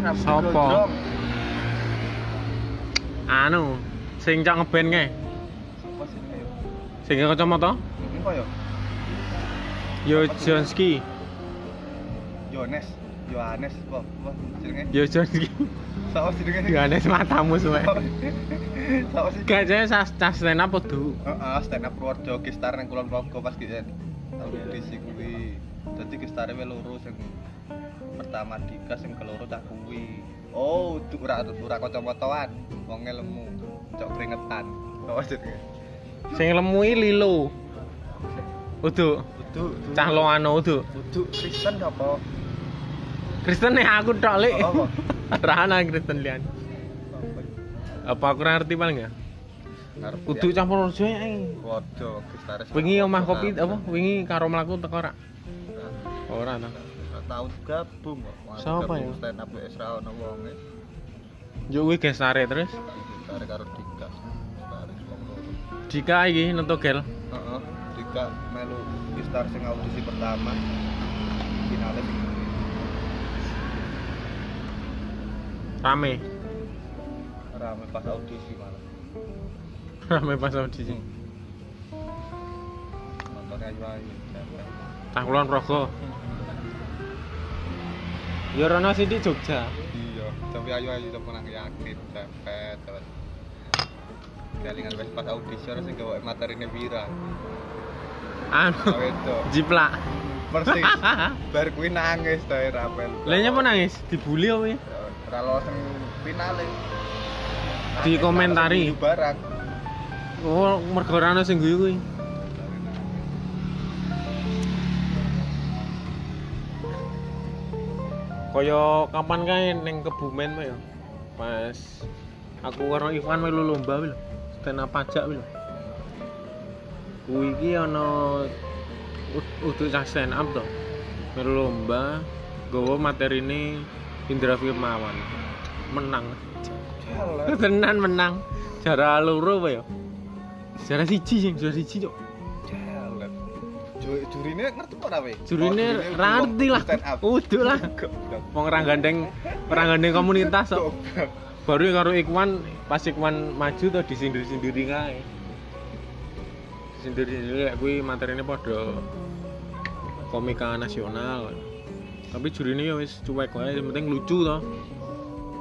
Ora Sopo? Anu, sing cak ngeband kae. Sopo sih kayak? Sing nggo kacamata? Iki koyo Yo Jonski. Jones, Johannes, apa apa jenenge? Yo Jonski. Sopo sih jenenge? Yo aneh matamu suwe. Sopo sih? Gak jane sas tas stand up kudu. Heeh, stand up Purworejo Gestar nang Kulon Progo pas gitu Tahun edisi kuwi. Dadi Gestare wae loro sing pertama Dika sing keloro cah kuwi. Oh, du- ora ora kacamataan, wong lemu, cok keringetan. Sopo jenenge? Sing lemu iki Lilo. Udu, Kudu cah loano udu. Kudu Kristen apa? Kristen nih aku tok lek. Apa? Rahana Kristen lian. Apa aku ora ngerti paling ya? Ngarep Kudu campur rejo ae. Waduh, Gestare. eh. Wingi omah kopi apa wingi karo mlaku teko ora? Ora ta. tahun gabung kok. Wah, Siapa gabung ya? Stand up wis ra ono wonge. Yo kuwi gesare terus. Gestare karo Dika. Gestare wong loro. Dika iki netogel. Heeh, Dika melu Gestar sing audisi pertama. Finale sing Rame. rame pas audisi malah. Rame pas audisi. Nontonnya ayu-ayu. Cah kulon Progo. Yo rono sithik Jogja. Iya, tapi ayu-ayu tapi nang yakin cepet terus. Kelingan wis pas audisi ora sing gawe materine Wira. Anu Awe itu jiplak. persis. Bar kuwi nangis ta Rapel. Lah nyapa nangis? Dibully apa ya? Ora lolos sing finale. Dikomentari. Nangis, Barak. Oh, mergo rono sing guyu kuwi. Kaya kapan kae ning Kebumen wae ya. Pas aku karo Ivan melu lomba wae lho. Stand up pajak wae lho. Kuwi iki ana ut- utuh cah stand up to. Melu lomba gowo materine Indra Firmawan. Menang. Jalan. Tenan menang. Jara loro wae ya. Jara siji sing jara siji cok. Jalan. Ju- Jurine ngerti apa ora we? Jurine ra ngerti lah. Oh, Oh, Stand up. Udah lah. Goblok. Wong ra gandeng, ra gandeng komunitas kok. Goblok. baru karo Iqman pas Iqman maju tuh disindir sindiri kae disindir sindiri lek kuwi materine padha komika nasional tapi jurine ya wis cuek wae yang penting lucu to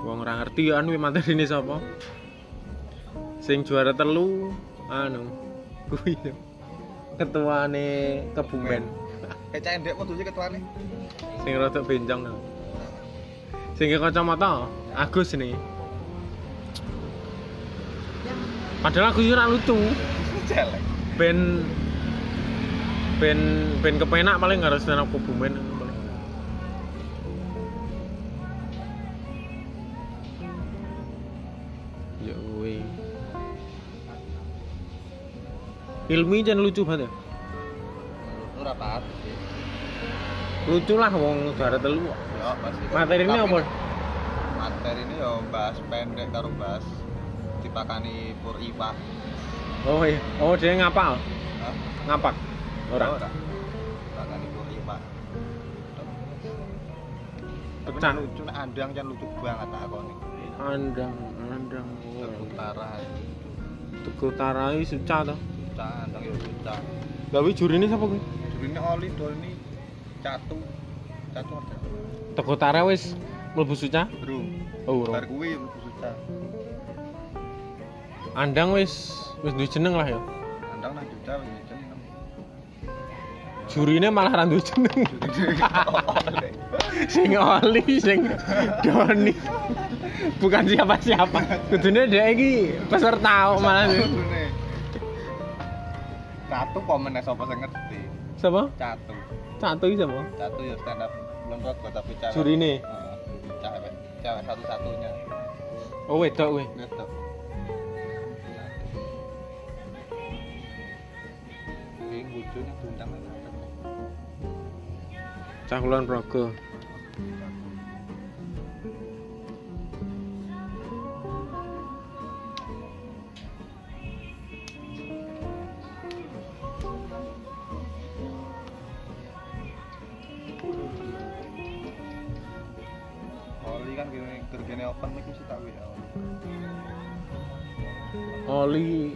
wong ora ngerti ya anu materine sapa sing juara telu anu kuwi lho, ketuane kebumen Eh cah ndek kudu ketuane. sing rada bencong lho. Sing iki kacamata Agus nih. Padahal Agus ora lucu, Jalan. ben ben ben kepenak paling harus stand up kebumen paling. Ya kuwi. Ilmi jan lucu banget ya. Ora taat. Lucu lah wong juara telu. kok. Ya pasti. Materi ini Tapi apa? Materi ini ya bahas pendek karo bahas dipakani pur ipa. Oh iya, oh dia ngapal, Hah? ngapak. Ora. Dipakani pur ipa. Pecah. lucu nek andang jan lucu banget tak akoni. Iya. Andang, andang. Utara, Tuku tarai suca to. Cah andang ya bocah. Lah wi jurine sapa kuwi? Jurine Oli Doni Catu. Catu ada. Tuku tarai wis mlebu suca. Bro, Oh, bar ora. kuwi susah. Andang wis wis duwe jeneng lah ya. Andang nang juta wis jeneng. Jurine malah ra duwe jeneng. sing Oli, sing Doni. Bukan siapa-siapa. Kudune dhek iki peserta kok malah. Jurine. Catu komen nek sapa sing ngerti. Sapa? Catu. Catu iki sapa? Catu ya stand up lembut kok tapi cara. Jurine. Heeh. Cewek, cewek satu-satunya. Oh wedok kuwi. Gitu. Ini wujudnya diundang Cah Kulon Progo. Oli kan gini gergene open mic mesti tak WA. Oli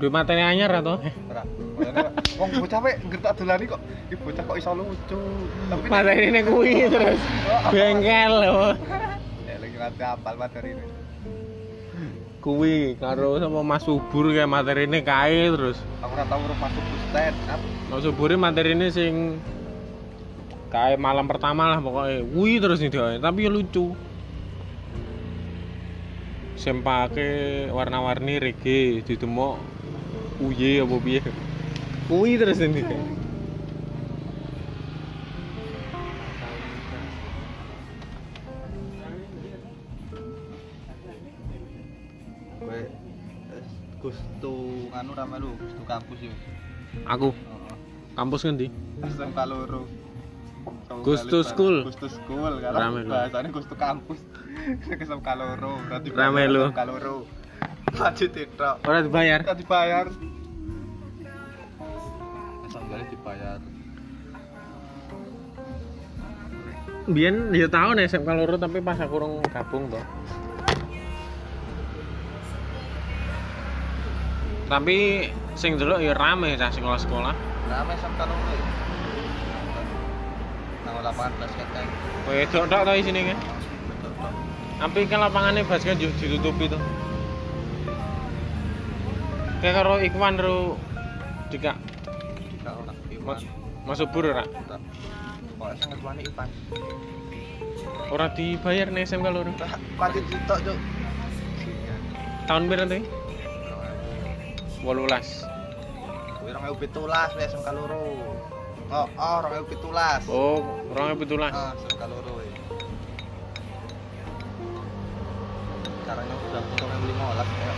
duwe materi anyar atau Ora. Makanya, Wong bocah wek ngertak dolani kok. Iki bocah kok iso lucu. Tapi materi ini kuwi terus bengkel loh Ya lagi ngerti apal materi ini. kuwi karo sama Mas Subur kayak materi ini kae terus Aku ora tau rumah aku stand up. Mas Subur ini materi ini sing kayak malam pertama lah pokoknya kuwi terus nih dia tapi ya lucu sing pake warna-warni reggae ditemok uye apa piye kuwi terus nih dia Kowe gustu anu ra melu, gustu kampus yo. aku Heeh. kampus ngendi SMK loro. Sama Gustu kali bareng. School. Gustu School Ra kalau melu. bahasane Gustu kampus. Sing SMK loro berarti Ra melu. SMK loro. Lanjut tok. ora dibayar Kita dibayar. Sanggali dibayar. Biyen ya tau nih SMK loro tapi pas aku urung gabung toh. Tapi sing delok ya rame cah sekolah-sekolah. Nama SMK loro. ya? Nama lapangan basket kan. Wedok tok to isine kan. Betul, Tok. Tapi kan lapangane basket yo ditutupi to. Kayak karo Iwan karo Dika Kita ora Iwan. Mas Mas Subur ora. Tok. Kok sangat wani Iwan. Ora dibayar nih SMK loro. Kuatir ditok, Cuk. Tahun pira to? 18. Kuwi 2017 wis SMK loro. Oh, oh 2017. Oh, 2017. Ah, SMK loro ya. Caranya udah potong yang 15 ya.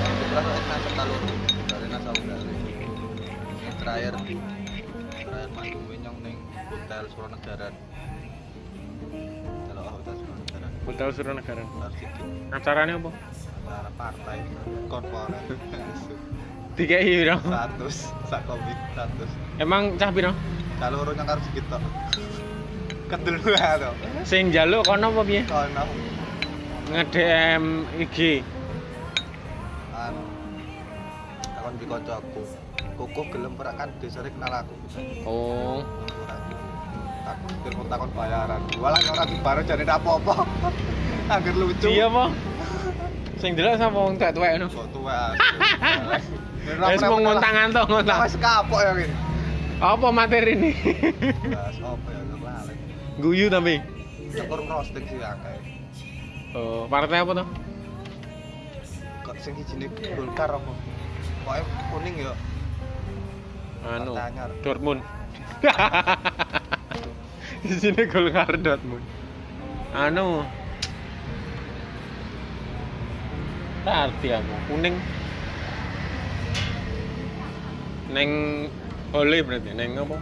Kebetulan saya kena SMK loro dari nasa Ugari. Yang terakhir terakhir mati wenyong ning hotel Suranegara. Kalau hotel Suranegara Hotel Suranegara. harus dikit Acarane apa? antara partai korporat Dikei pira? 100 sak komik 100 Emang cah piro? kalau orang yang harus gitu kedul lah tuh Sing njaluk kono apa piye? kono Nge-DM IG. anu takon di kanca aku kukuh gelem ora kan desare kenal aku Oh. Ora. takon telepon takon bayaran walah ora dibayar jane ndak apa-apa angger lucu Iya apa? Sing delok sapa wong tak tuwek ngono. kok tua Wis mau ngontang to ngontang. wis kapok ya ngene Apa materi ini? bahas apa ya aku lali Guyu tapi. cukur roasting sih akeh Oh, partai apa to? kok sing sijine Golkar apa pokoke kuning ya Anu. Partai anyar. Dortmund. Di sini Golkar Dortmund. Anu. Tadi aku kuning. Neng hole berarti neng apa?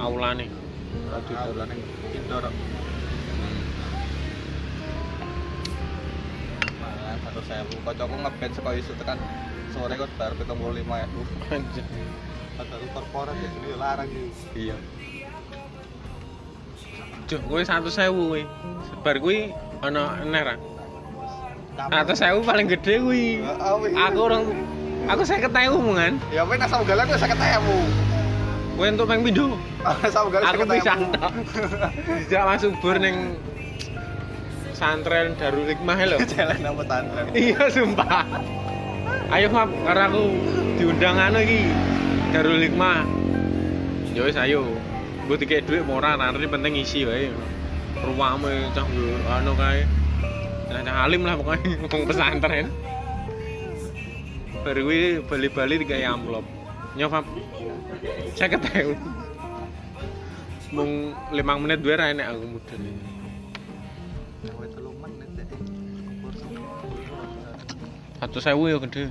Aula nih. Ratu dolan ning indoor. Satu sewu, kocokku ngeband saka isuk tekan sore kok bar pitung puluh lima ewu. Padahal korporat ya jadi larang gitu. Iya. Cuk, kowe 100.000 kowe. Sebar kuwi ana ener. ra? Kamu- 100.000 paling gede kuwi. Ya, awi. Aku orang aku 50.000 mungan. Ya weh nasa ugalan gue sakit ewu. Kowe entuk ping pindho. Nasa ugalan Aku sakit pisah ewu. tok. Dijak Mas Subur ning santren Darul Hikmah e lho. Jalan nama tantren. Iya sumpah. Ayo Fab, karena aku diundang anu iki Darul Hikmah. Ya wis ayo. Gue dikek duit mau ora, nanti penting isi wae. Ruwame cah yo anu kae. Nah, cah alim lah pokoknya wong pesantren. Baru gue bali-bali tiga amplop. Ya, Nyokap saya ketemu. Mung lima menit dua ra enak aku mudun. Kowe telu menit deh. Satu sewu ya gede.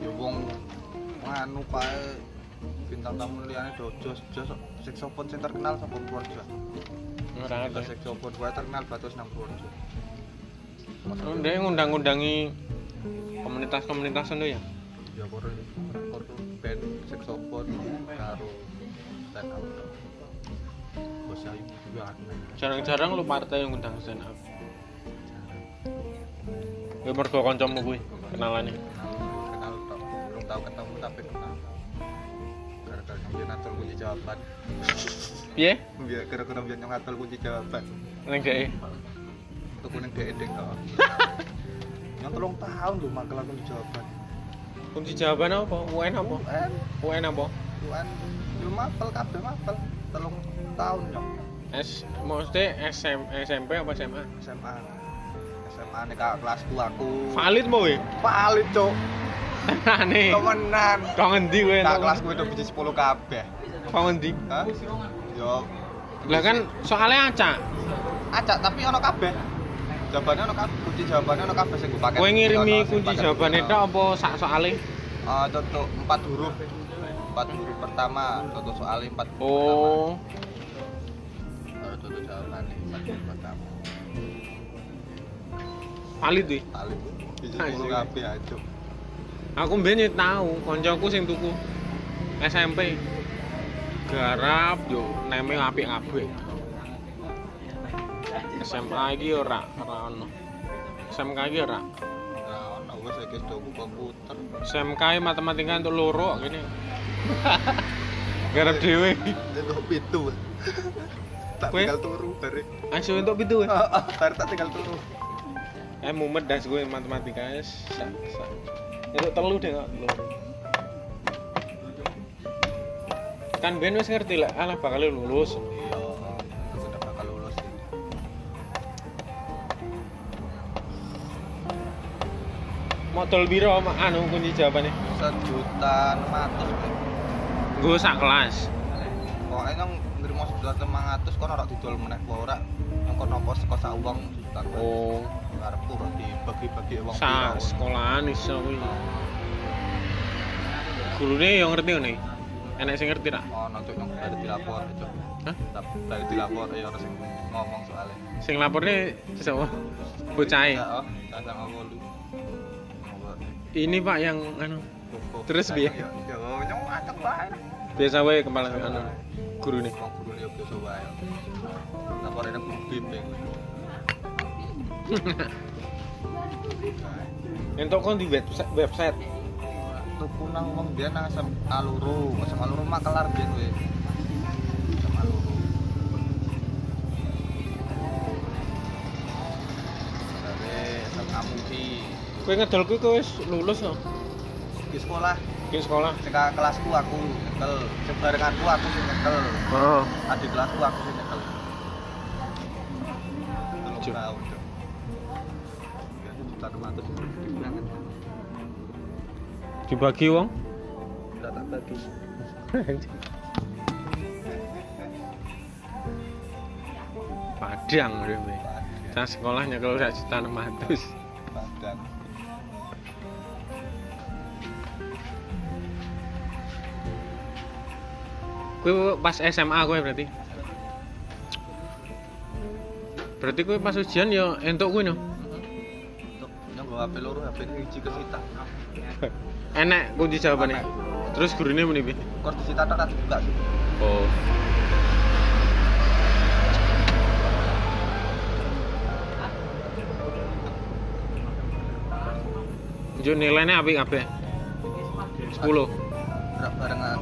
Ya wong nganu kae bintang tamu liyane dojo jos seksopon sing terkenal sapa Purworejo. Ora Kita ngerti. seksopon wae terkenal Batus nang Purworejo. Dia ngundang-undangi komunitas-komunitas itu ya. Ya karo karo band saxophone karo stand up. Wes saya juga anu, aneh Jarang-jarang lu partai yang ngundang stand up. Ya mergo kancamu kuwi kenalane. kenal tau belum tahu ketemu tapi kenal gara-gara nyong ngatur kunci jawaban Piye? E. biar gara-gara biar nyong ngatur kunci jawaban Ning dhek. itu kuning dek dek tau nyong tolong tahun lho makelar kunci jawaban Kunci jawaban apa? UN apa? UN UN apa? UN yo mapel kabeh mapel telung tahun nyong S maksudnya SM, SMP apa SMA? SMA SMA nih kakak kelas ku aku Valid mau we. valid cok Aneh. temenan Kok ngendi kowe kakak entuk? kelas ku itu biji 10 kabeh Kok ngendi? Hah? yo Lah kan soalnya acak. acak tapi ono kabeh jawabannya ono kabeh kunci jawabannya ono kabeh sing gue pakai Kowe ngirimi kunci jawabannya tok apa sak soalnya? Eh, contoh empat huruf empat huruf pertama contoh soalnya empat huruf Oh. pertama. Eh, contoh jawabannya empat huruf pertama Valid we. valid biji Ah, 10 iya. kabeh ya, aja Aku mbien ya tahu koncoku sing tuku SMP. Garap yo neme apik kabeh. SMA iki ora ora ono. SMK iki ora. nah ono gue saya kis tuku komputer SMK e matematika untuk loro gini. Garap dhewe. itu pintu tak Kowe? tinggal turu dari Asu untuk pitu. Ah, ah, dari tak tinggal turu Eh mumet das gue matematika wis. sak- sak. Untuk telu deh kok loro. Kan ben wis ngerti lah alah bakal lulus. iya aku udah bakal lulus Modal biro ma- anu kunci jawabannya? sejuta enam ratus Gue sak kelas. pokoknya nang nerima sejuta enam ratus kono ora didol meneh apa ora nang kono apa saka sak uang sejuta Oh, karepku ora dibagi-bagi uang sak sekolahan iso kuwi. Gurune yang ngerti ngene. Enek sing ngerti ra? oh nanti yang dari dilapor itu Hah? Lap- dari dilapor ya harus ngomong soalnya Sing laporne e. sapa? Bocahe. Ya, oh jangan sama wolu Ini Pak yang anu Kukuh. Terus, Sayang, Bi? ya ya nyong acak wae lah. biasa wae kepala anu gurune. wong guru ya biasa wae laporane guru bimbing Entok kon di website website. tuku nang wong biyen nang asam aluru asam aluru mah kelar biyen we asam aluru dari asam amubi Kowe ngedol kuwi kowe wis lulus no. di sekolah Ki sekolah. saka kelasku aku nyekel sebarenganku aku sing nyekel Heeh. adik kelasku aku sing nyekel Telung Cuk. tahun, Cuk. Ya, sejuta enam ratus itu gede banget. Dibagi wong. Udah tak bagi. Padang kowe. Cah sekolah nyekel sak juta 600. Padang. Kowe pas SMA kowe berarti. Berarti kowe pas ujian ya entuk kowe no. Untuk yang bawa HP loro HP ini hiji kesita. Enak kunci jawabane. Terus gurune muni piye? Kor disita tak tak juga sih. Oh. Jo nilainya apik kabeh. 10. Berak barengan.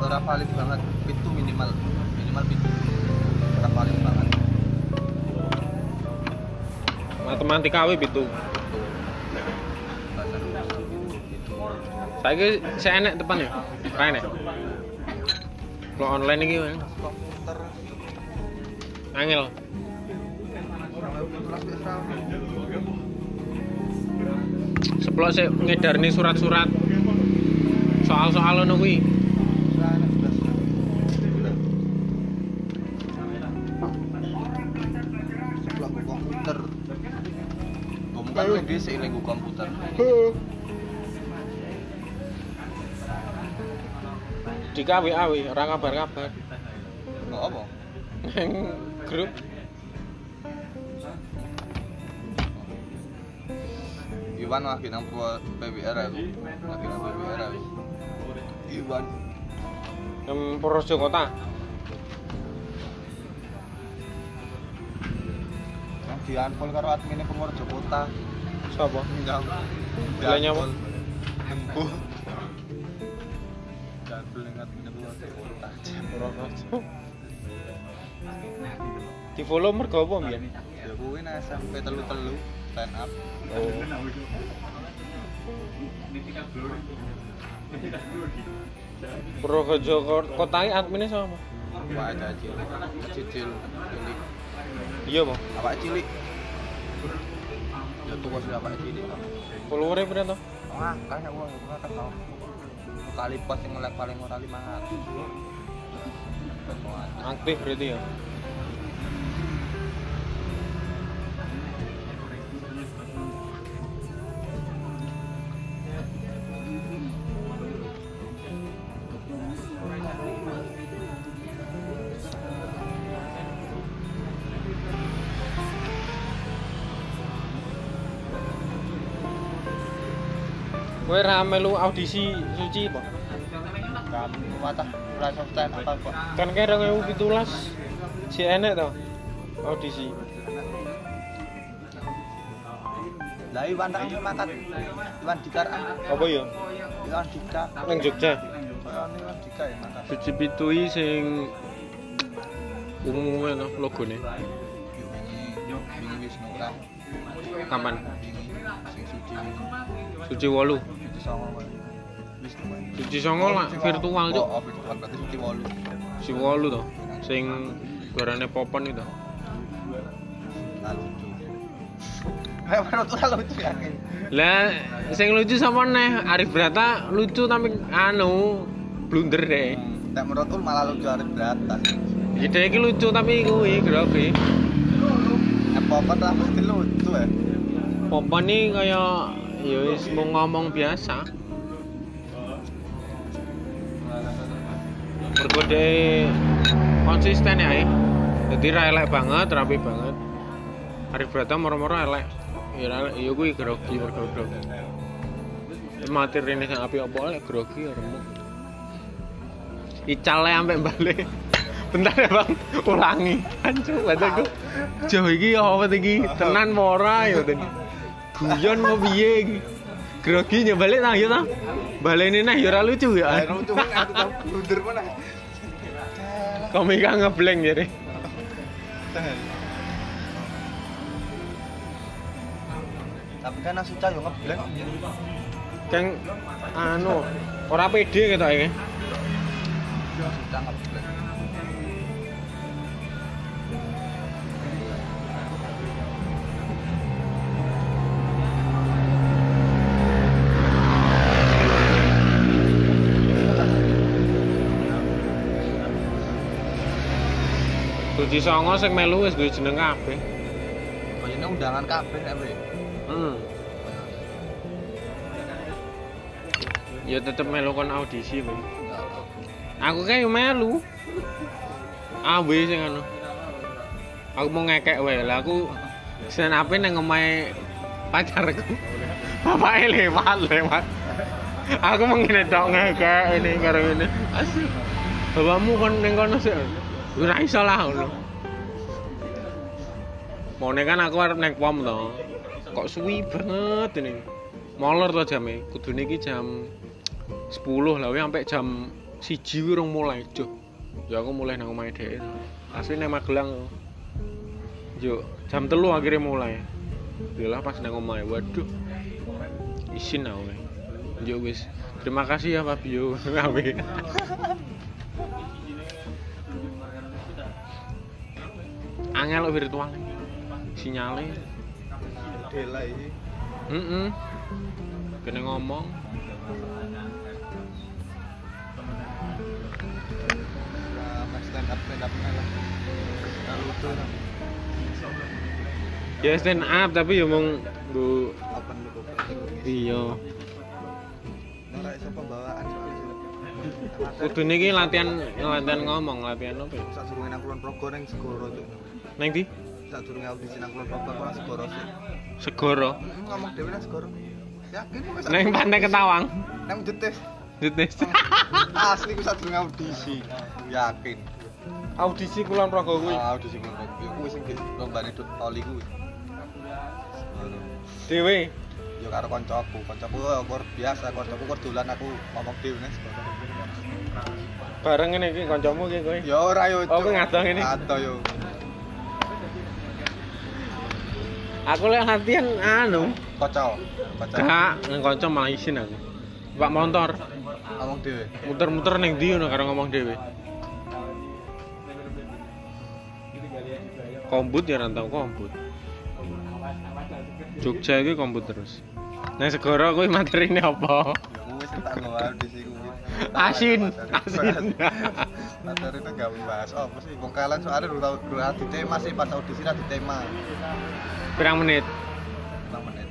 Ora valid banget. Pintu minimal minimal pintu. Ora valid banget. Matematika wae 7. Tuh. Bahasa Indonesia pintu, pintu. Saiki sik enek depan ya. Ra enek. Lo online iki Bang. Komputer. angel. Kelas biasa. Seplok sik ngedarni surat-surat. Soal-soal ngono kuwi. Sana kelas. Blok komputer. Bukan lebih seiling komputer. Di KWA wae ora kabar-kabar. Nggak Oh, apa? Neng grup Iwan lagi nang pro PBR aku. ya, Lagi nang PBR aku. ya, Iwan yang Purworejo kota. di unfollow karo adminnya Purworejo Kota. Siapa? Enggak. Bilangnya apa? Nembuh. Gandul yang adminnya Purworejo Kota. Di follow mergo apa mbiyen? Ya kuwi nah sampai telu-telu stand up. Oh. Purworejo kotai adminnya sama. Apa aja cil. Cicil cilik. Iya, Bang. Apa cilik? Ya tuwa sudah apa cilik. Followernya pira to? Wah, kayaknya uang itu kan tau. Kali pas yang ngelek paling ora 500. Temuan. Aktif berarti ya. Kowe ra melu audisi suci, Pak? Kami patah rasa stand apa kok. kan kayak orang yang pitulas si enek tau audisi Lah Iwan tak ambil makan. Iwan Dika ah. apa ya Iwan Dika. yang Jogja Iwan Iwan Dika ya makan. suci pitui sing ungu ya logo nih Yo wingi wingi Wisnu ora. kapan Wingi sing suci wingi. suci wolu Suci songo wae. Wisnu wae. suci songo lah virtual cuk Oh, oh, virtual berarti suci wolu. si wolu tau sing garane popon itu Lalu lucu. Kayak menurut ora lucu ya. Ken. Eh. lah sing lucu sama nih Arif Brata lucu tapi anu blunder deh Tak menurut ul malah lucu arep berantas. ide iki lucu tapi kuwi grogi Apa apa lah pasti lucu ya. popon nih kayak ya wis mau ngomong biasa mergo dhek konsisten ya eh. jadi ra elek banget rapi banget Arif Brata moro-moro elek ya ra elek ya kuwi grogi mergo grogi materi ini api apa elek grogi ya remuk Icale sampai balik bentar ya bang ulangi hancur banget aku jauh iki ya apa iki tenan apa ora ya tadi guyon mau piye iki grogi nyebalik nang ya ta baleni neh ya ora lucu ya Lah lucu kan aku tau blunder mana. komika ngeblank jadi Tapi kan Asuca yo ngeblank. kan anu ora pede gitu ya Asuca ngeblank. Suci Songo sing melu wis duwe jeneng kabeh Kayaknya undangan kabeh nek weh. hmm. ya tetep melu kon audisi ben aku kayak melu awe sing anu aku mau ngekek wae lah aku stand up nang omahe pacarku bapaknya lewat lewat aku mengene tok ngekek ini karo ini asyik bapakmu kon ning kono sik ora iso lah ngono Mone kan aku arep naik pom to. Kok suwi banget ini. Molor to jame. Kudune iki jam 10 lah weh sampai jam 1 kuwi urung mulai, Cuk. Ya aku mulai nang omahe dhek. Asli nang Magelang. Yo, jam 3 akhirnya mulai. Yalah pas nang omahe. Waduh. Isin aku. weh. Yo wis. Terima kasih ya Fabio. Awe. Angel virtual sinyalnya Dela iki. Mm-mm. Kena ngomong. Nah, stand up stand up lah. Nah, lucu lah. Ya stand up tapi ya mong bu Open lu open. iya. Ora iso pembawaan soalnya. Kudu niki latihan latihan ngomong, latihan apa ya? Sak durunge nang kulon progo ning segoro tuh. Neng di Sak durunge audisi nang kulon progo aku nang segoro sih. Segoro. Mm, Ngomong dhewe nang segoro. Yakin kok sak- Neng pantai ketawang. Nang jetis. Dites. Asli ku sak durunge audisi. Yakin. Audisi kulon progo kuwi. Ah, audisi kulon progo. Ku sing di lombane dut oli kuwi. Dewe. yo karo koncoku koncoku kur biasa koncoku kur dolan aku ngomong dhewe nek Bareng ngene iki kancamu iki kowe. yo ora yo Oh, kowe ngadoh ngene? ngadoh yo Aku lek latihan anu, kocok kocok gak nang kanca malah isin aku. Pak motor ngomong dhewe muter-muter ning ndi ngono karo ngomong dhewe. Kombut ya rantau kombut. Jogja iki kombut terus. Nang segara kuwi materine apa? aku wis tak ngomong di siku Asin, asin. materi itu gak membahas apa sih wong kalian soalnya dulu tau dulu ada tema sih pas audisi ada tema Pirang menit? 6 menit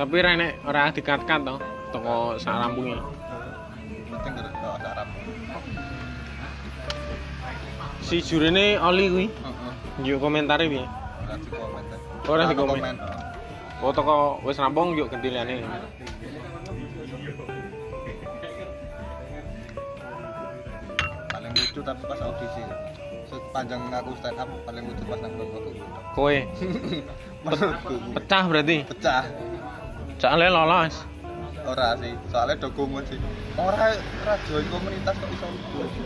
Tapi rene ora dikat-kat to. Toko sak ya. rampunge. penting gak ada ada arab Si jurine Oli kuwi. Heeh. Yuk komentare piye? ora di komen deh. Ora di Ora komen. Oh toko wis rampung yuk gendilane. paling lucu tapi pas audisi sepanjang aku stand up paling lucu pas nang blog aku Kowe menurutku pecah berarti. pecah Soalnya lolos. ora sih soalnya dokumen sih ora ora join komunitas kok iso lucu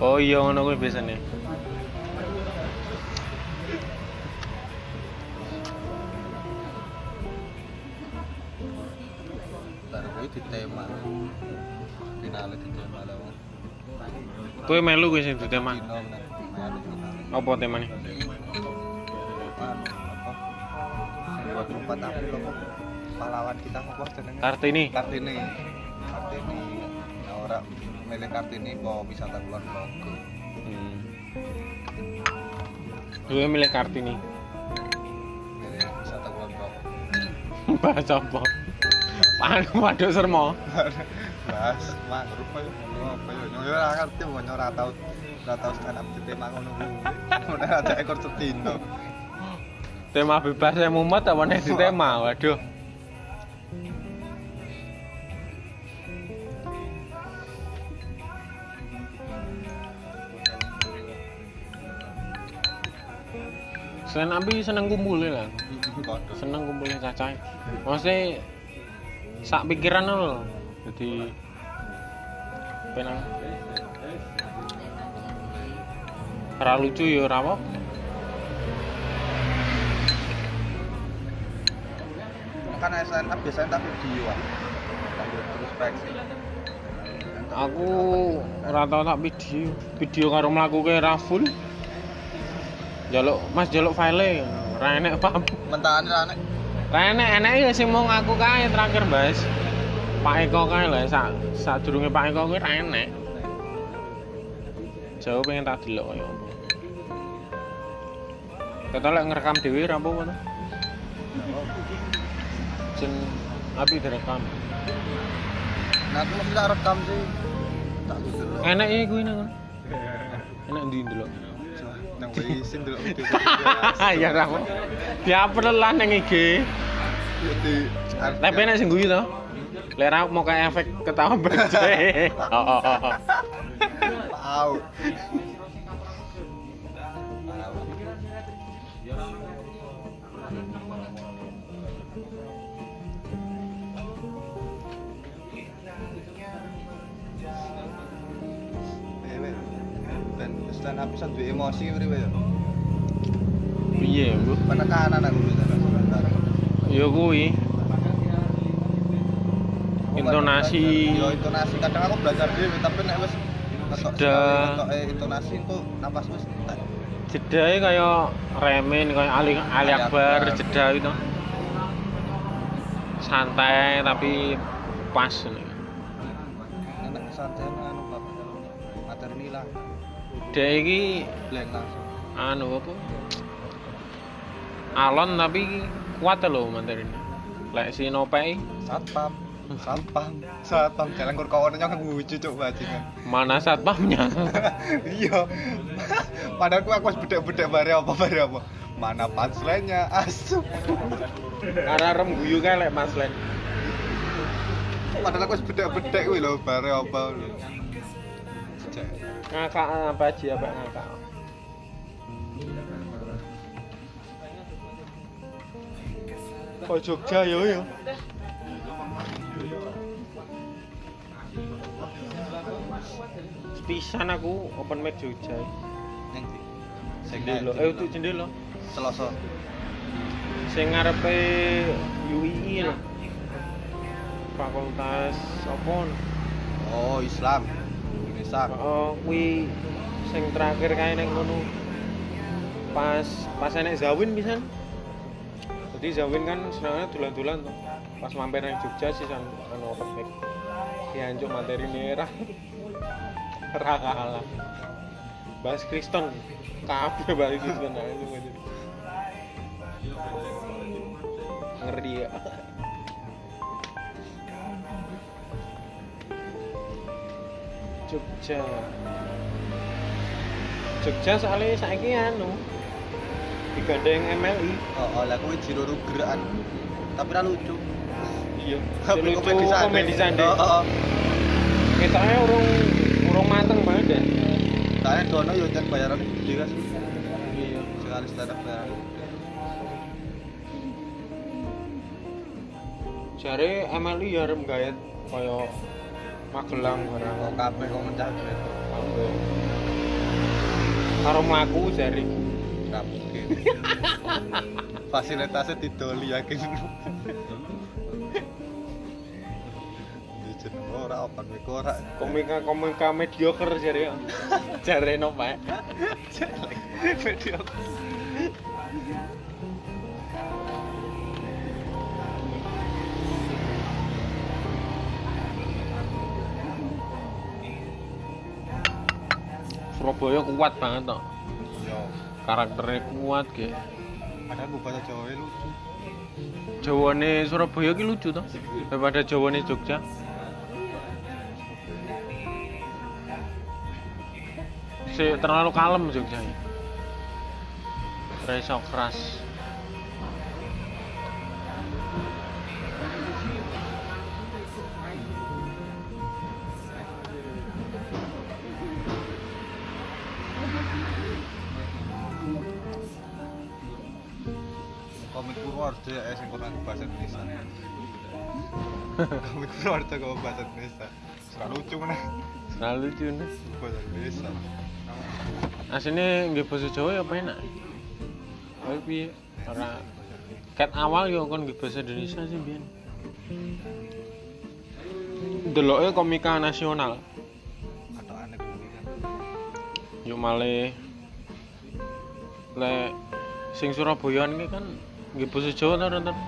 Oh iya ngono kuwi biasane. baru kuwi di tema finale di tema lah wong Kowe melu kuwi sing tema. Dino menang. Malu, malu. Apa temane? Anu, apa Sing buat empat apa apa? pahlawan kita apa jenenge Kartini. Kartini Kartini ya ora milih Kartini kok wisata kulon Progo Hmm. Kowe milih Kartini. milih wisata kulon Progo Bahas apa? Anu waduh sermo. bahas mangrove ya ngono apa ya Yo, yo ora ngerti wong ora tau ora tau stand up di tema ngono kuwi ora ada ekor setino Tema bebas yang mumet apa nek di tema? Waduh. Selain Abi seneng kumpulin kan? kodo seneng kumpulin cacah maksudnya sak pikiran lho jadi penang ora lucu ya ora apa kan stand up biasanya tak video ah Tak introspeksi aku ora tau tak video video karo mlaku ke Raful jaluk mas jaluk file ora enek paham mentahan lah nek ora enek enek ya sing mau ngaku kae terakhir Mas Pak Eko kae lho sak sak durunge Pak Eko kuwi ora enek jauh pengen tak delok kaya apa kata lek ngerekam dhewe ra apa ngono jen api direkam nah aku mesti tak rekam sih tak lucu loh enek iki kuwi nang kono. enek ndi ndelok nang wisin dulu di ya ra diupload lah nang IG di tapi enek sing guyu to lek ra mau kayak efek ketawa Oh, berjai tahu dan stand up bisa duwe emosi priwe ya piye Iya, Bu penekanan aku bisa sebentar ya kuwi Aku belajar. Intonasi. Yo intonasi kadang aku belajar dhewe tapi nek wis ngetok Sudah. sekali, ngetoke intonasi itu napas wis tak. jedanya kayak remin kayak ali ali Ali akbar Akbar. jeda gitu santai tapi pas ini. enak santai anu Bapak. materi ini hilang dia ini blank langsung anu apa alon tapi kuat loh materi ini lek si nopai satpam satpam satpam jalan kur kawan nyong ngucu cuk bajingan mana satpamnya iya padahal aku aku wis bedek-bedek bare apa bare apa mana punchline-nya asu arah rem guyu kan lek mas len padahal aku wis bedek-bedek kuwi lho bare apa lho Cek. ngakak apa aja apa ngakak Kok Oh, Jogja yo yo. Pisan aku open mic Jogja. Neng di. Sing Jendela. naik Eh itu jendela. Selasa. Sing ngarepe UII lho. Fakultas apa? Oh, Islam. Indonesia. Oh, kuwi sing terakhir kae nang ngono. Pas pas enek Zawin pisan. Jadi Zawin kan senangnya dulan-dulan tuh. Pas mampir nang Jogja sih san anu open mic. Dianjuk materi merah. Ra kalah. Bahas Kristen. Kabeh bahas Kristen aja gitu. Ngeri ya. Jogja. Jogja soalnya saiki anu digandeng E. MLI. Oh, oh, lah kuwi jiro rugeran. Tapi ra lucu. Iya. Tapi Lucu komedi sande. komedi sande. Oh, oh, oh. Ketoknya urung urung mateng banget deh. Soalnya dono yo cek bayaran gede kan. Iya. Sekali stand up bayaran. Jare MLI ya arep gayet kaya Magelang barang Kok kabeh kok mencah duit. Ambe. Karo mlaku jare Ra mungkin. Fasilitasnya didoli yakin. Dijen ora open mic ora. komika komika mediocre jare. jare no Pak. Video. Surabaya kuat banget tok. Yo. Karakternya kuat ge. Padahal bubasa Jawa lucu. Jawane Surabaya ki lucu toh daripada Jawane Jogja. Si, terlalu kalem Jogja. ya. Reso keras. komik Purworejo ya sing kurang bahasa Indonesia komik Purworejo kok bahasa Indonesia suka lucu mana Selalu lucu nih. bahasa Indonesia Asine nggih basa Jawa ya penak. Kowe piye? Ora ket awal ya kon nggih basa Indonesia sih biyen. Deloke komika nasional. atau aneh komik kan yo male le sing Surabayaan ki kan nggih basa Jawa ta nonton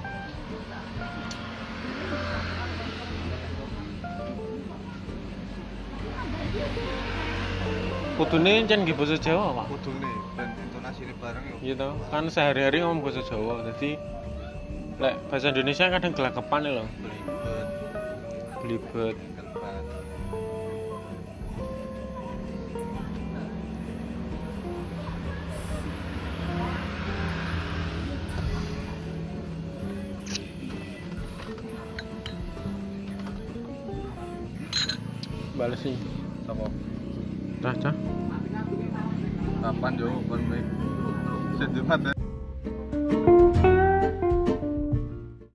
Kudune encen nggih basa Jawa, Pak. kudune dan intonasi ini bareng yo Iya toh, kan sehari-hari ngomong bahasa Jawa. Jadi lek bahasa Indonesia kadang gelagapan e lho, belibet belibet. kelbat Bales sih. sama Cah, cah. kapan yo komik sedih mata